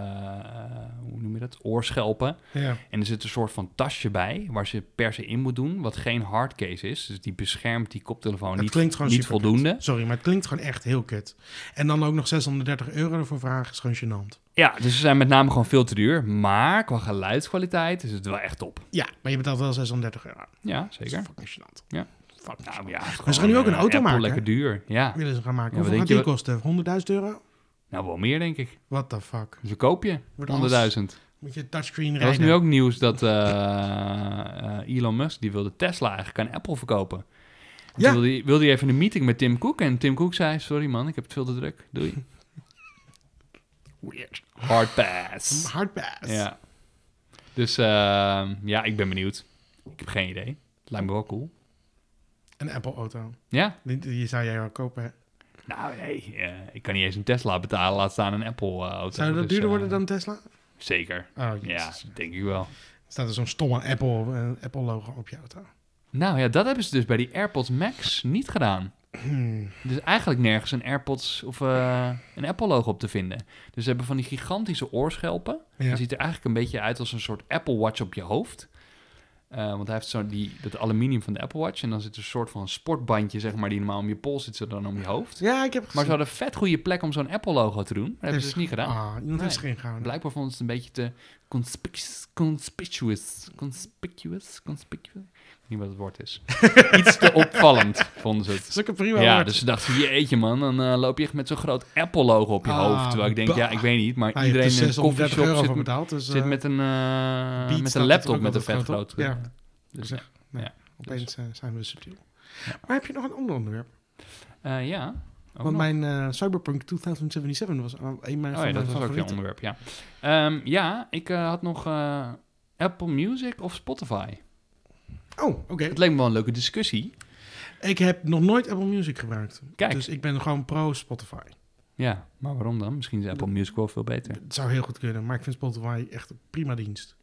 [SPEAKER 2] hoe noem je dat, oorschelpen.
[SPEAKER 1] Ja.
[SPEAKER 2] En er zit een soort van tasje bij waar ze per se in moet doen, wat geen hardcase is. Dus die beschermt die koptelefoon
[SPEAKER 1] Het
[SPEAKER 2] niet,
[SPEAKER 1] klinkt gewoon
[SPEAKER 2] niet
[SPEAKER 1] superkut.
[SPEAKER 2] voldoende.
[SPEAKER 1] Sorry, maar het klinkt gewoon echt heel kut. En dan ook nog 630 euro ervoor vragen is gewoon gênant.
[SPEAKER 2] Ja, dus ze zijn met name gewoon veel te duur. Maar qua geluidskwaliteit is het wel echt top.
[SPEAKER 1] Ja, maar je betaalt wel 630 euro.
[SPEAKER 2] Ja,
[SPEAKER 1] Dat is
[SPEAKER 2] zeker.
[SPEAKER 1] fucking gênant.
[SPEAKER 2] Ja.
[SPEAKER 1] Fucking
[SPEAKER 2] Nou
[SPEAKER 1] gênant.
[SPEAKER 2] ja, het is
[SPEAKER 1] gaan nu
[SPEAKER 2] gewoon,
[SPEAKER 1] ook een
[SPEAKER 2] eh,
[SPEAKER 1] auto
[SPEAKER 2] Apple
[SPEAKER 1] maken,
[SPEAKER 2] lekker
[SPEAKER 1] hè?
[SPEAKER 2] duur. Ja,
[SPEAKER 1] Willen ze gaan maken.
[SPEAKER 2] Ja, wat
[SPEAKER 1] Hoeveel gaat die
[SPEAKER 2] denk
[SPEAKER 1] kosten? 100.000 euro?
[SPEAKER 2] nou wel meer denk ik.
[SPEAKER 1] What the fuck?
[SPEAKER 2] Dus we koop je 100.000.
[SPEAKER 1] Wordt alles-
[SPEAKER 2] Dat
[SPEAKER 1] Moet je touchscreen
[SPEAKER 2] was
[SPEAKER 1] rijden?
[SPEAKER 2] nu ook nieuws dat eh, eh, Elon Musk, die wilde Tesla eigenlijk aan Apple verkopen.
[SPEAKER 1] Ja.
[SPEAKER 2] Ja. Wilde, hij- wilde hij even een meeting met Tim Cook. En Tim Cook zei, sorry man, ik heb het veel te druk. Doei.
[SPEAKER 1] Weird.
[SPEAKER 2] Hard pass.
[SPEAKER 1] Hard pass.
[SPEAKER 2] Ja. Dus ehm, ja, ik ben benieuwd. Ik heb geen idee. Het lijkt me wel cool.
[SPEAKER 1] Een Apple auto.
[SPEAKER 2] Ja,
[SPEAKER 1] Die, die zou jij wel kopen. hè?
[SPEAKER 2] Nou nee, eh, ik kan niet eens een Tesla betalen, laat staan een Apple eh, auto.
[SPEAKER 1] Zou dat
[SPEAKER 2] Dus,
[SPEAKER 1] duurder
[SPEAKER 2] eh,
[SPEAKER 1] worden dan Tesla?
[SPEAKER 2] Zeker.
[SPEAKER 1] Oh,
[SPEAKER 2] Ja,
[SPEAKER 1] jezus.
[SPEAKER 2] denk ik wel.
[SPEAKER 1] Staat er zo'n stomme Apple, eh, Apple logo op je auto.
[SPEAKER 2] Nou ja, dat hebben ze dus bij die AirPods Max niet gedaan.
[SPEAKER 1] Hmm.
[SPEAKER 2] Dus eigenlijk nergens een AirPods of eh, een Apple logo op te vinden. Dus ze hebben van die gigantische oorschelpen.
[SPEAKER 1] Ja.
[SPEAKER 2] Dat ziet er eigenlijk een beetje uit als een soort Apple Watch op je hoofd. Eh, want hij heeft zo die, dat aluminium van de Apple Watch. En dan zit er een soort van sportbandje, zeg maar, die normaal om je pols zit, zo dan om je hoofd.
[SPEAKER 1] ja, ik heb
[SPEAKER 2] Maar
[SPEAKER 1] gezien.
[SPEAKER 2] ze hadden een vet goede plek om zo'n Apple logo te doen. Maar dat hebben ze dus niet gedaan.
[SPEAKER 1] Ah, iemand heeft
[SPEAKER 2] Nee.
[SPEAKER 1] erin gehouden.
[SPEAKER 2] Blijkbaar vonden ze het een beetje te conspicuous. Conspicuous. Conspicuous. Conspicuous. Ik weet niet wat het woord is. Iets te opvallend, vonden ze
[SPEAKER 1] Dat
[SPEAKER 2] het.
[SPEAKER 1] is ook een prima
[SPEAKER 2] Ja,
[SPEAKER 1] woord.
[SPEAKER 2] dus ze dachten, jeetje man, dan eh, loop je echt met zo'n groot Apple-logo op je
[SPEAKER 1] Ah,
[SPEAKER 2] hoofd. Terwijl ik denk,
[SPEAKER 1] bah.
[SPEAKER 2] ja, ik weet niet,
[SPEAKER 1] Ah,
[SPEAKER 2] maar
[SPEAKER 1] je hebt
[SPEAKER 2] iedereen
[SPEAKER 1] er
[SPEAKER 2] in een
[SPEAKER 1] 630
[SPEAKER 2] koffieshop
[SPEAKER 1] euro
[SPEAKER 2] zit,
[SPEAKER 1] voor
[SPEAKER 2] met-
[SPEAKER 1] betaald. Dus,
[SPEAKER 2] zit
[SPEAKER 1] eh,
[SPEAKER 2] met een, eh,
[SPEAKER 1] Beats
[SPEAKER 2] met
[SPEAKER 1] staat natuurlijk
[SPEAKER 2] een laptop
[SPEAKER 1] ook
[SPEAKER 2] met een vet
[SPEAKER 1] altijd
[SPEAKER 2] groot...
[SPEAKER 1] groot op. Ja.
[SPEAKER 2] eh, dus,
[SPEAKER 1] Dus, nee,
[SPEAKER 2] ja,
[SPEAKER 1] Opeens eh, zijn we subtiel. Maar heb je nog een ander onderwerp?
[SPEAKER 2] Eh, ja, ook
[SPEAKER 1] Want
[SPEAKER 2] nog.
[SPEAKER 1] mijn eh, Cyberpunk 2077 was al een mijn
[SPEAKER 2] Oh ja,
[SPEAKER 1] van mijn
[SPEAKER 2] dat was ook een
[SPEAKER 1] favorieten.
[SPEAKER 2] onderwerp, ja. Ehm, ja, ik eh, had nog eh, Apple Music of Spotify.
[SPEAKER 1] Oh, oké.
[SPEAKER 2] Het leek me wel een leuke discussie.
[SPEAKER 1] Ik heb nog nooit Apple Music gebruikt.
[SPEAKER 2] Kijk.
[SPEAKER 1] Dus ik ben gewoon pro Spotify.
[SPEAKER 2] Ja, maar waarom dan? Misschien is Apple Music wel veel beter.
[SPEAKER 1] Het zou heel goed kunnen, maar ik vind Spotify echt een prima dienst.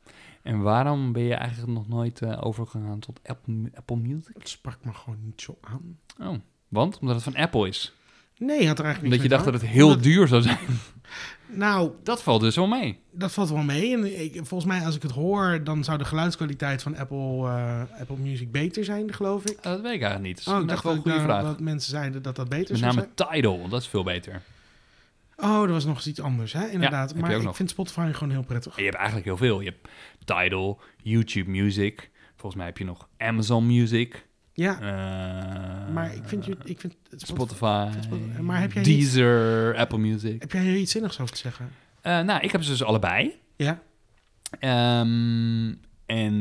[SPEAKER 2] En waarom ben je eigenlijk nog nooit eh, overgegaan tot Apple, Apple Music?
[SPEAKER 1] Het sprak me gewoon niet zo aan.
[SPEAKER 2] Oh, want? Omdat het van Apple is.
[SPEAKER 1] Nee, had er eigenlijk
[SPEAKER 2] Omdat
[SPEAKER 1] niks mee
[SPEAKER 2] je dacht
[SPEAKER 1] te
[SPEAKER 2] dat het
[SPEAKER 1] maken.
[SPEAKER 2] heel
[SPEAKER 1] Omdat-
[SPEAKER 2] duur zou zijn.
[SPEAKER 1] Nou,
[SPEAKER 2] Dat valt dus wel mee.
[SPEAKER 1] dat valt wel mee. En ik, volgens mij, als ik het hoor, dan zou de geluidskwaliteit van Apple, eh, Apple Music beter zijn, geloof ik.
[SPEAKER 2] Eh, dat weet ik eigenlijk niet. Dat is
[SPEAKER 1] Oh, ik
[SPEAKER 2] echt
[SPEAKER 1] dacht
[SPEAKER 2] wel
[SPEAKER 1] dat,
[SPEAKER 2] een goede
[SPEAKER 1] daar-
[SPEAKER 2] vraag.
[SPEAKER 1] dat mensen zeiden dat dat beter
[SPEAKER 2] Met
[SPEAKER 1] zou
[SPEAKER 2] name
[SPEAKER 1] zijn.
[SPEAKER 2] Tidal, want dat is veel beter. En
[SPEAKER 1] Oh, er was nog eens iets anders, hè? Inderdaad.
[SPEAKER 2] heb je
[SPEAKER 1] maar
[SPEAKER 2] ook
[SPEAKER 1] ik
[SPEAKER 2] nog.
[SPEAKER 1] vind Spotify gewoon heel prettig.
[SPEAKER 2] je hebt eigenlijk heel veel. Je hebt Tidal, YouTube Music. Volgens mij heb je nog Amazon Music.
[SPEAKER 1] Ja,
[SPEAKER 2] eh,
[SPEAKER 1] maar ik vind, ju- ik vind het Spotify...
[SPEAKER 2] Spotify,
[SPEAKER 1] Spotify. Maar heb jij niet-
[SPEAKER 2] Deezer, Apple Music.
[SPEAKER 1] Heb jij hier iets zinnigs over te zeggen?
[SPEAKER 2] Eh, nou, ik heb ze dus allebei.
[SPEAKER 1] Ja?
[SPEAKER 2] Ehm, en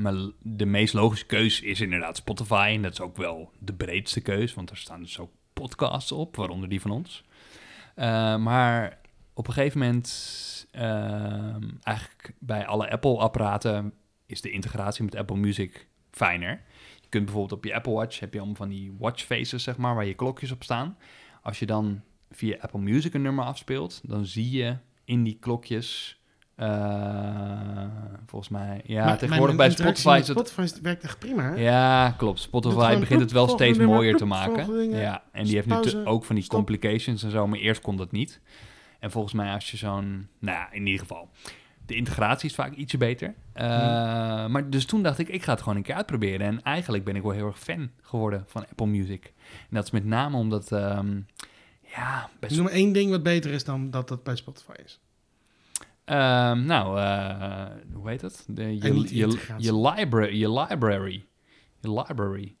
[SPEAKER 2] maar de meest logische keus is inderdaad Spotify. En dat is ook wel de breedste keus, want er staan dus ook podcasts op, waaronder die van ons. Eh, maar op een gegeven moment, ehm, eigenlijk bij alle Apple-apparaten, is de integratie met Apple Music fijner. Je kunt bijvoorbeeld op je Apple Watch, heb je allemaal van die watchfaces, zeg maar, waar je klokjes op staan. Als je dan via Apple Music een nummer afspeelt, dan zie je in die klokjes. eh, volgens mij. Ja,
[SPEAKER 1] Maar mijn
[SPEAKER 2] tegenwoordig bij
[SPEAKER 1] interactie
[SPEAKER 2] Spotify
[SPEAKER 1] met
[SPEAKER 2] is het.
[SPEAKER 1] Spotify is- werkt echt prima, hè?
[SPEAKER 2] Ja, klopt.
[SPEAKER 1] Doet
[SPEAKER 2] Spotify
[SPEAKER 1] gewoon
[SPEAKER 2] begint het wel
[SPEAKER 1] ploep,
[SPEAKER 2] steeds
[SPEAKER 1] volgende
[SPEAKER 2] mooier te
[SPEAKER 1] nummer, ploep,
[SPEAKER 2] maken.
[SPEAKER 1] volgende dingen. Dus
[SPEAKER 2] Ja, en die heeft nu
[SPEAKER 1] Pauze,
[SPEAKER 2] te- ook van die
[SPEAKER 1] stop.
[SPEAKER 2] complications en zo, maar eerst kon dat niet. En volgens mij als je zo'n... Nou ja, in ieder geval. De integratie is vaak ietsje beter. Eh,
[SPEAKER 1] Hmm.
[SPEAKER 2] Maar dus toen dacht ik, ik ga het gewoon een keer uitproberen. En eigenlijk ben ik wel heel erg fan geworden van Apple Music. En dat is met name omdat... ehm, ja, bij
[SPEAKER 1] Noem maar één ding wat beter is dan dat dat bij Spotify is.
[SPEAKER 2] Ehm, nou, eh, hoe heet dat? De, je,
[SPEAKER 1] En niet de
[SPEAKER 2] je,
[SPEAKER 1] integratie.
[SPEAKER 2] je, library, je library. Je library.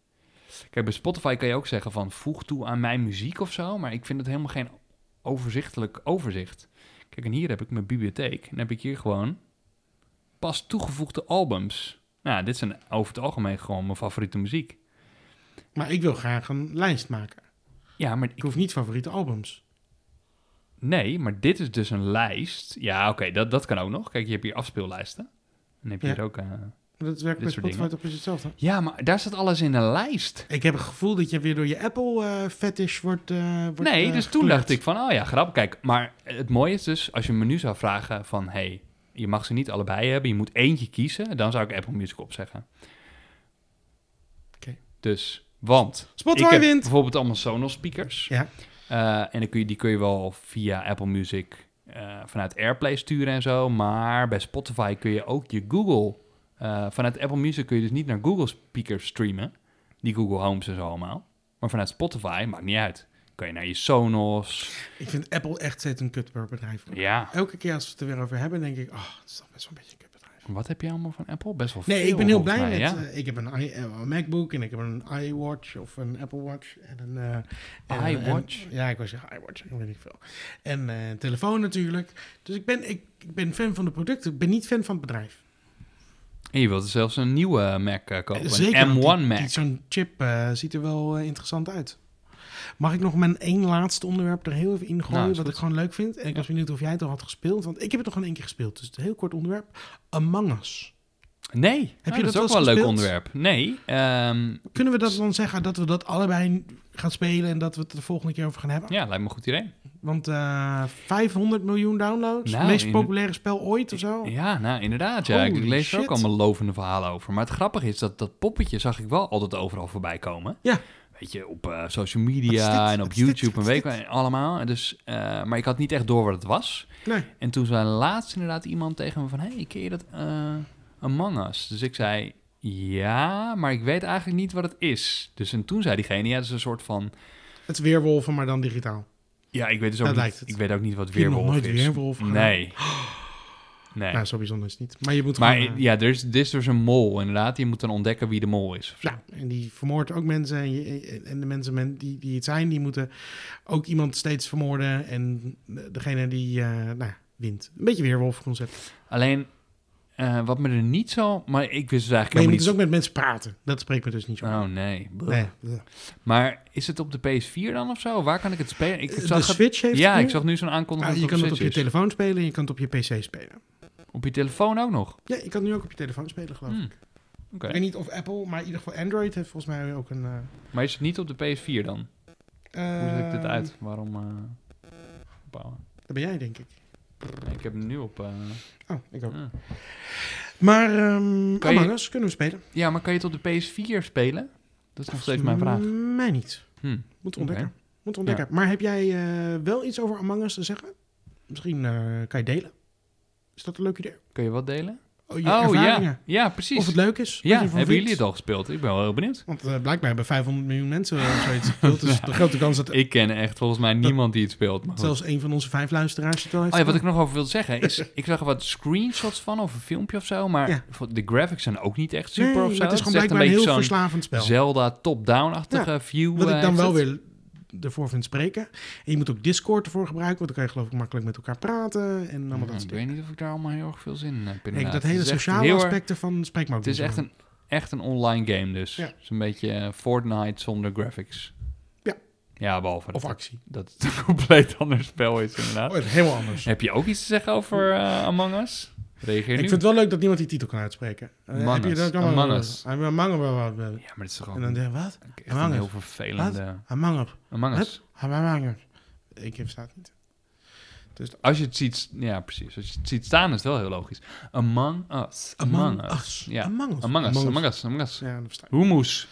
[SPEAKER 2] Kijk, bij Spotify kan je ook zeggen van voeg toe aan mijn muziek of zo, maar ik vind het helemaal geen overzichtelijk overzicht. Kijk, en hier heb ik mijn bibliotheek en heb ik hier gewoon pas toegevoegde albums. Nou, dit zijn over het algemeen gewoon mijn favoriete muziek.
[SPEAKER 1] Maar ik wil graag een lijst maken.
[SPEAKER 2] Ja, maar
[SPEAKER 1] Ik
[SPEAKER 2] ik,
[SPEAKER 1] hoef niet favoriete albums.
[SPEAKER 2] nee, maar dit is dus een lijst. Ja, oké, dat, dat kan ook nog. Kijk, je hebt hier afspeellijsten. Dan heb je
[SPEAKER 1] Ja.
[SPEAKER 2] hier ook... eh,
[SPEAKER 1] Dat werkt
[SPEAKER 2] Dit
[SPEAKER 1] bij
[SPEAKER 2] soort
[SPEAKER 1] Spotify
[SPEAKER 2] dingen.
[SPEAKER 1] toch precies hetzelfde?
[SPEAKER 2] Ja, maar daar staat alles in een lijst.
[SPEAKER 1] Ik heb het gevoel dat je weer door je Apple eh fetish wordt, eh, wordt,
[SPEAKER 2] nee,
[SPEAKER 1] eh,
[SPEAKER 2] dus toen
[SPEAKER 1] gekleurd.
[SPEAKER 2] dacht ik van, oh ja, grappig. Kijk, maar het mooie is dus, als je een menu zou vragen van, hey, je mag ze niet allebei hebben, je moet eentje kiezen, dan zou ik Apple Music opzeggen.
[SPEAKER 1] Oké.
[SPEAKER 2] Dus, want
[SPEAKER 1] Spotify
[SPEAKER 2] ik heb
[SPEAKER 1] wint!
[SPEAKER 2] bijvoorbeeld allemaal Sonos speakers.
[SPEAKER 1] Ja.
[SPEAKER 2] Eh, en dan kun je, die kun je wel via Apple Music eh, vanuit Airplay sturen en zo. Maar bij Spotify kun je ook je Google... eh, vanuit Apple Music kun je dus niet naar Google speakers streamen. Die Google Homes en zo allemaal. Maar vanuit Spotify, maakt niet uit. Kun je naar je Sonos.
[SPEAKER 1] Ik vind Apple echt steeds een kutbedrijf.
[SPEAKER 2] Ja.
[SPEAKER 1] Elke keer als we het er weer over hebben, denk ik... Oh, het is toch best wel een beetje een kutbedrijf.
[SPEAKER 2] Wat heb je allemaal van Apple? Best wel
[SPEAKER 1] Nee,
[SPEAKER 2] veel,
[SPEAKER 1] ik ben heel
[SPEAKER 2] volgens
[SPEAKER 1] blij met...
[SPEAKER 2] mij, ja.
[SPEAKER 1] eh, ik heb een, i- een MacBook en ik heb een iWatch of een Apple Watch. En een, eh, en-
[SPEAKER 2] iWatch?
[SPEAKER 1] en- ja, ik was zeggen iWatch, ik weet niet veel. En eh, een telefoon natuurlijk. Dus ik ben, ik, ik ben fan van de producten, ik ben niet fan van het bedrijf.
[SPEAKER 2] En je wilt er zelfs een nieuwe Mac eh, kopen.
[SPEAKER 1] Zeker,
[SPEAKER 2] een
[SPEAKER 1] want
[SPEAKER 2] M1
[SPEAKER 1] die-
[SPEAKER 2] Mac.
[SPEAKER 1] die- Zo'n chip eh, ziet er wel eh, interessant uit. Mag ik nog mijn één laatste onderwerp er heel even in gooien,
[SPEAKER 2] Nou, is
[SPEAKER 1] wat
[SPEAKER 2] goed.
[SPEAKER 1] ik gewoon leuk vind? En ik
[SPEAKER 2] Ja.
[SPEAKER 1] was benieuwd of jij het al had gespeeld, want ik heb het nog gewoon één keer gespeeld. Dus het heel kort onderwerp. Among Us.
[SPEAKER 2] Nee, heb
[SPEAKER 1] je dat
[SPEAKER 2] dat is
[SPEAKER 1] wel
[SPEAKER 2] ook wel
[SPEAKER 1] eens
[SPEAKER 2] een leuk
[SPEAKER 1] gespeeld?
[SPEAKER 2] onderwerp. Nee, ehm,
[SPEAKER 1] Kunnen we dat dan zeggen dat we dat allebei gaan spelen en dat we het er de volgende keer over gaan hebben?
[SPEAKER 2] ja, lijkt me een goed idee.
[SPEAKER 1] Want eh 500 miljoen downloads,
[SPEAKER 2] Nou,
[SPEAKER 1] het meest
[SPEAKER 2] in-
[SPEAKER 1] populaire spel ooit of zo.
[SPEAKER 2] Ja, nou inderdaad. Ja. Ik
[SPEAKER 1] Oh. Holy
[SPEAKER 2] lees er ook
[SPEAKER 1] shit.
[SPEAKER 2] allemaal lovende verhalen over. Maar het grappige is dat dat poppetje zag ik wel altijd overal voorbij komen.
[SPEAKER 1] Ja.
[SPEAKER 2] Weet je, op eh, social
[SPEAKER 1] Wat is
[SPEAKER 2] media
[SPEAKER 1] dit?
[SPEAKER 2] en op
[SPEAKER 1] Wat is dit?
[SPEAKER 2] YouTube en
[SPEAKER 1] Wat is
[SPEAKER 2] weet ik
[SPEAKER 1] dit?
[SPEAKER 2] wel, allemaal. En dus, eh, maar ik had niet echt door wat het was.
[SPEAKER 1] Nee.
[SPEAKER 2] En toen zei laatst inderdaad iemand tegen me van... Hé, hey, ken je dat eh Among Us? Dus ik zei... Ja, maar ik weet eigenlijk niet wat het is. Dus en toen zei diegene... Ja, het is een soort van...
[SPEAKER 1] Het is weerwolven, maar dan digitaal.
[SPEAKER 2] Ja, ik weet dus ook,
[SPEAKER 1] Dat lijkt
[SPEAKER 2] niet,
[SPEAKER 1] het.
[SPEAKER 2] ik weet ook niet wat
[SPEAKER 1] Ik heb nog
[SPEAKER 2] weerwolf
[SPEAKER 1] nooit
[SPEAKER 2] is.
[SPEAKER 1] weerwolf gedaan.
[SPEAKER 2] Nee. Nee.
[SPEAKER 1] Nou, zo bijzonder is het niet. Maar je moet
[SPEAKER 2] Maar
[SPEAKER 1] gewoon... eh,
[SPEAKER 2] ja, er is, er is dus een mol inderdaad. Je moet dan ontdekken wie de mol is. of zo.
[SPEAKER 1] Nou, en die vermoordt ook mensen. En, je- en de mensen men- die, die het zijn, die moeten ook iemand steeds vermoorden. En degene die eh, nou, ja, wint. Een beetje weerwolfconcept.
[SPEAKER 2] Alleen, eh, wat me er niet zo... Maar ik wist dus
[SPEAKER 1] Maar
[SPEAKER 2] eigenlijk
[SPEAKER 1] je moet
[SPEAKER 2] helemaal
[SPEAKER 1] dus ook met mensen praten. Dat spreekt me dus niet zo.
[SPEAKER 2] niet... Oh, nee.
[SPEAKER 1] Nee.
[SPEAKER 2] Maar is het op de PS4 dan of zo? Waar kan ik het spelen? Ik
[SPEAKER 1] Eh, de
[SPEAKER 2] zag het-
[SPEAKER 1] Switch heeft
[SPEAKER 2] ja,
[SPEAKER 1] het nu.
[SPEAKER 2] ik zag nu zo'n aankondiging
[SPEAKER 1] Ah, je
[SPEAKER 2] dat
[SPEAKER 1] kan
[SPEAKER 2] het
[SPEAKER 1] het op je
[SPEAKER 2] Switch is.
[SPEAKER 1] telefoon spelen en je kan het op je PC spelen.
[SPEAKER 2] Op je telefoon ook nog?
[SPEAKER 1] Ja, je kan het nu ook op je telefoon spelen, geloof ik.
[SPEAKER 2] Hmm. Oké.
[SPEAKER 1] Ik weet niet of Apple, maar in ieder geval Android heeft volgens mij ook een... eh,
[SPEAKER 2] Maar is het niet op de PS4 dan? Hoe zet ik dit uit? Waarom eh, opbouwen?
[SPEAKER 1] Dat eh, ben jij, denk ik.
[SPEAKER 2] Nee, ik heb hem nu op... eh,
[SPEAKER 1] Oh, ik ook.
[SPEAKER 2] ah.
[SPEAKER 1] Maar ehm
[SPEAKER 2] Kan je-
[SPEAKER 1] Among Us kunnen we spelen.
[SPEAKER 2] Ja, maar kan je het op de PS4 spelen? Dat is nog steeds mijn vraag.
[SPEAKER 1] Mij niet.
[SPEAKER 2] Hm.
[SPEAKER 1] Moet
[SPEAKER 2] Oké.
[SPEAKER 1] ontdekken. Moet ontdekken. Maar heb jij eh, wel iets over Among Us te zeggen? Misschien eh, kan je delen. Is dat een leuk idee?
[SPEAKER 2] Kun je wat delen?
[SPEAKER 1] Oh, je
[SPEAKER 2] Oh ja,
[SPEAKER 1] ervaringen.
[SPEAKER 2] ja precies.
[SPEAKER 1] Of het leuk is.
[SPEAKER 2] ja, hebben jullie het al gespeeld? Ik ben wel heel benieuwd.
[SPEAKER 1] Want eh, blijkbaar hebben 500 miljoen mensen of zoiets gespeeld. Dus de grote kans dat
[SPEAKER 2] Ik ken echt volgens mij niemand die het speelt. Maar goed.
[SPEAKER 1] zelfs een van onze vijf luisteraars het wel heeft
[SPEAKER 2] Oh ja, wat ik
[SPEAKER 1] gedaan.
[SPEAKER 2] nog over wilde zeggen is, ik zag er wat screenshots van of een filmpje of zo, maar
[SPEAKER 1] Ja.
[SPEAKER 2] voor- de graphics zijn ook niet echt super
[SPEAKER 1] Nee,
[SPEAKER 2] of zo.
[SPEAKER 1] maar het is gewoon
[SPEAKER 2] echt
[SPEAKER 1] blijkbaar een heel
[SPEAKER 2] zo'n
[SPEAKER 1] verslavend spel.
[SPEAKER 2] Zelda top-down-achtige view.
[SPEAKER 1] Wat ik
[SPEAKER 2] eh,
[SPEAKER 1] dan
[SPEAKER 2] is
[SPEAKER 1] wel
[SPEAKER 2] het.
[SPEAKER 1] weer ervoor vind spreken. En je moet ook Discord ervoor gebruiken, want dan kan je geloof ik makkelijk met elkaar praten en allemaal
[SPEAKER 2] Hmm,
[SPEAKER 1] nou, dat soort
[SPEAKER 2] ik
[SPEAKER 1] dingen.
[SPEAKER 2] weet niet of ik daar allemaal heel erg veel zin in heb.
[SPEAKER 1] Nee,
[SPEAKER 2] inderdaad.
[SPEAKER 1] dat
[SPEAKER 2] Het
[SPEAKER 1] hele
[SPEAKER 2] is echt
[SPEAKER 1] sociale
[SPEAKER 2] heel erg-
[SPEAKER 1] aspect ervan spreekt me ook
[SPEAKER 2] Het is
[SPEAKER 1] niet
[SPEAKER 2] echt
[SPEAKER 1] zo.
[SPEAKER 2] een, echt een online game dus.
[SPEAKER 1] Ja.
[SPEAKER 2] Het is een beetje eh, Fortnite zonder graphics.
[SPEAKER 1] Ja.
[SPEAKER 2] Ja, behalve
[SPEAKER 1] Of
[SPEAKER 2] dat,
[SPEAKER 1] actie.
[SPEAKER 2] dat het een compleet ander spel is inderdaad.
[SPEAKER 1] Oh, het is helemaal anders.
[SPEAKER 2] Heb je ook iets te zeggen over eh, Among Us? Reageer
[SPEAKER 1] ik
[SPEAKER 2] nu.
[SPEAKER 1] vind het wel leuk dat niemand die titel kan uitspreken. Eh,
[SPEAKER 2] Among
[SPEAKER 1] heb je
[SPEAKER 2] Us.
[SPEAKER 1] dat ook
[SPEAKER 2] Among
[SPEAKER 1] allemaal?
[SPEAKER 2] Us.
[SPEAKER 1] I'm Among Us. wel.
[SPEAKER 2] Ja, maar het is toch
[SPEAKER 1] En dan
[SPEAKER 2] gewoon
[SPEAKER 1] denk ik, wat?
[SPEAKER 2] echt
[SPEAKER 1] Among
[SPEAKER 2] een
[SPEAKER 1] Us.
[SPEAKER 2] heel vervelende...
[SPEAKER 1] Among Us.
[SPEAKER 2] Among Us.
[SPEAKER 1] Among Us. Ik versta het niet.
[SPEAKER 2] Als je het ziet... s- Ja, precies. Als je het ziet staan is het wel heel logisch. Among Us. Among
[SPEAKER 1] oh,
[SPEAKER 2] Us. Ja.
[SPEAKER 1] Among Us.
[SPEAKER 2] Among Us. Among Us. Among Us.
[SPEAKER 1] Ja, dat versta ik.
[SPEAKER 2] Hummus.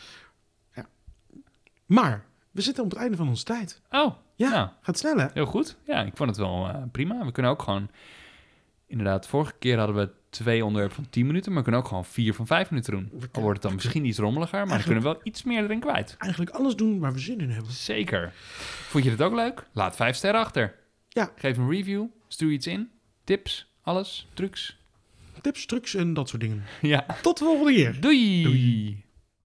[SPEAKER 1] Maar, we zitten op het einde van onze tijd.
[SPEAKER 2] Oh,
[SPEAKER 1] Ja.
[SPEAKER 2] nou,
[SPEAKER 1] Gaat snel, hè?
[SPEAKER 2] heel goed. Ja, ik vond het wel eh, prima. We kunnen ook gewoon... Inderdaad, vorige keer hadden we twee onderwerpen van 10 minuten, maar we kunnen ook gewoon vier van 5 minuten doen. Al wordt het dan misschien iets rommeliger, maar dan kunnen we wel iets meer erin kwijt.
[SPEAKER 1] Eigenlijk alles doen waar we zin in hebben.
[SPEAKER 2] Zeker. Vond je dit ook leuk? Laat 5 sterren achter.
[SPEAKER 1] Ja.
[SPEAKER 2] Geef een review. Stuur iets in. Tips, alles, trucs.
[SPEAKER 1] Tips, trucs en dat soort dingen.
[SPEAKER 2] Ja.
[SPEAKER 1] Tot de volgende keer.
[SPEAKER 2] Doei.
[SPEAKER 1] Doei.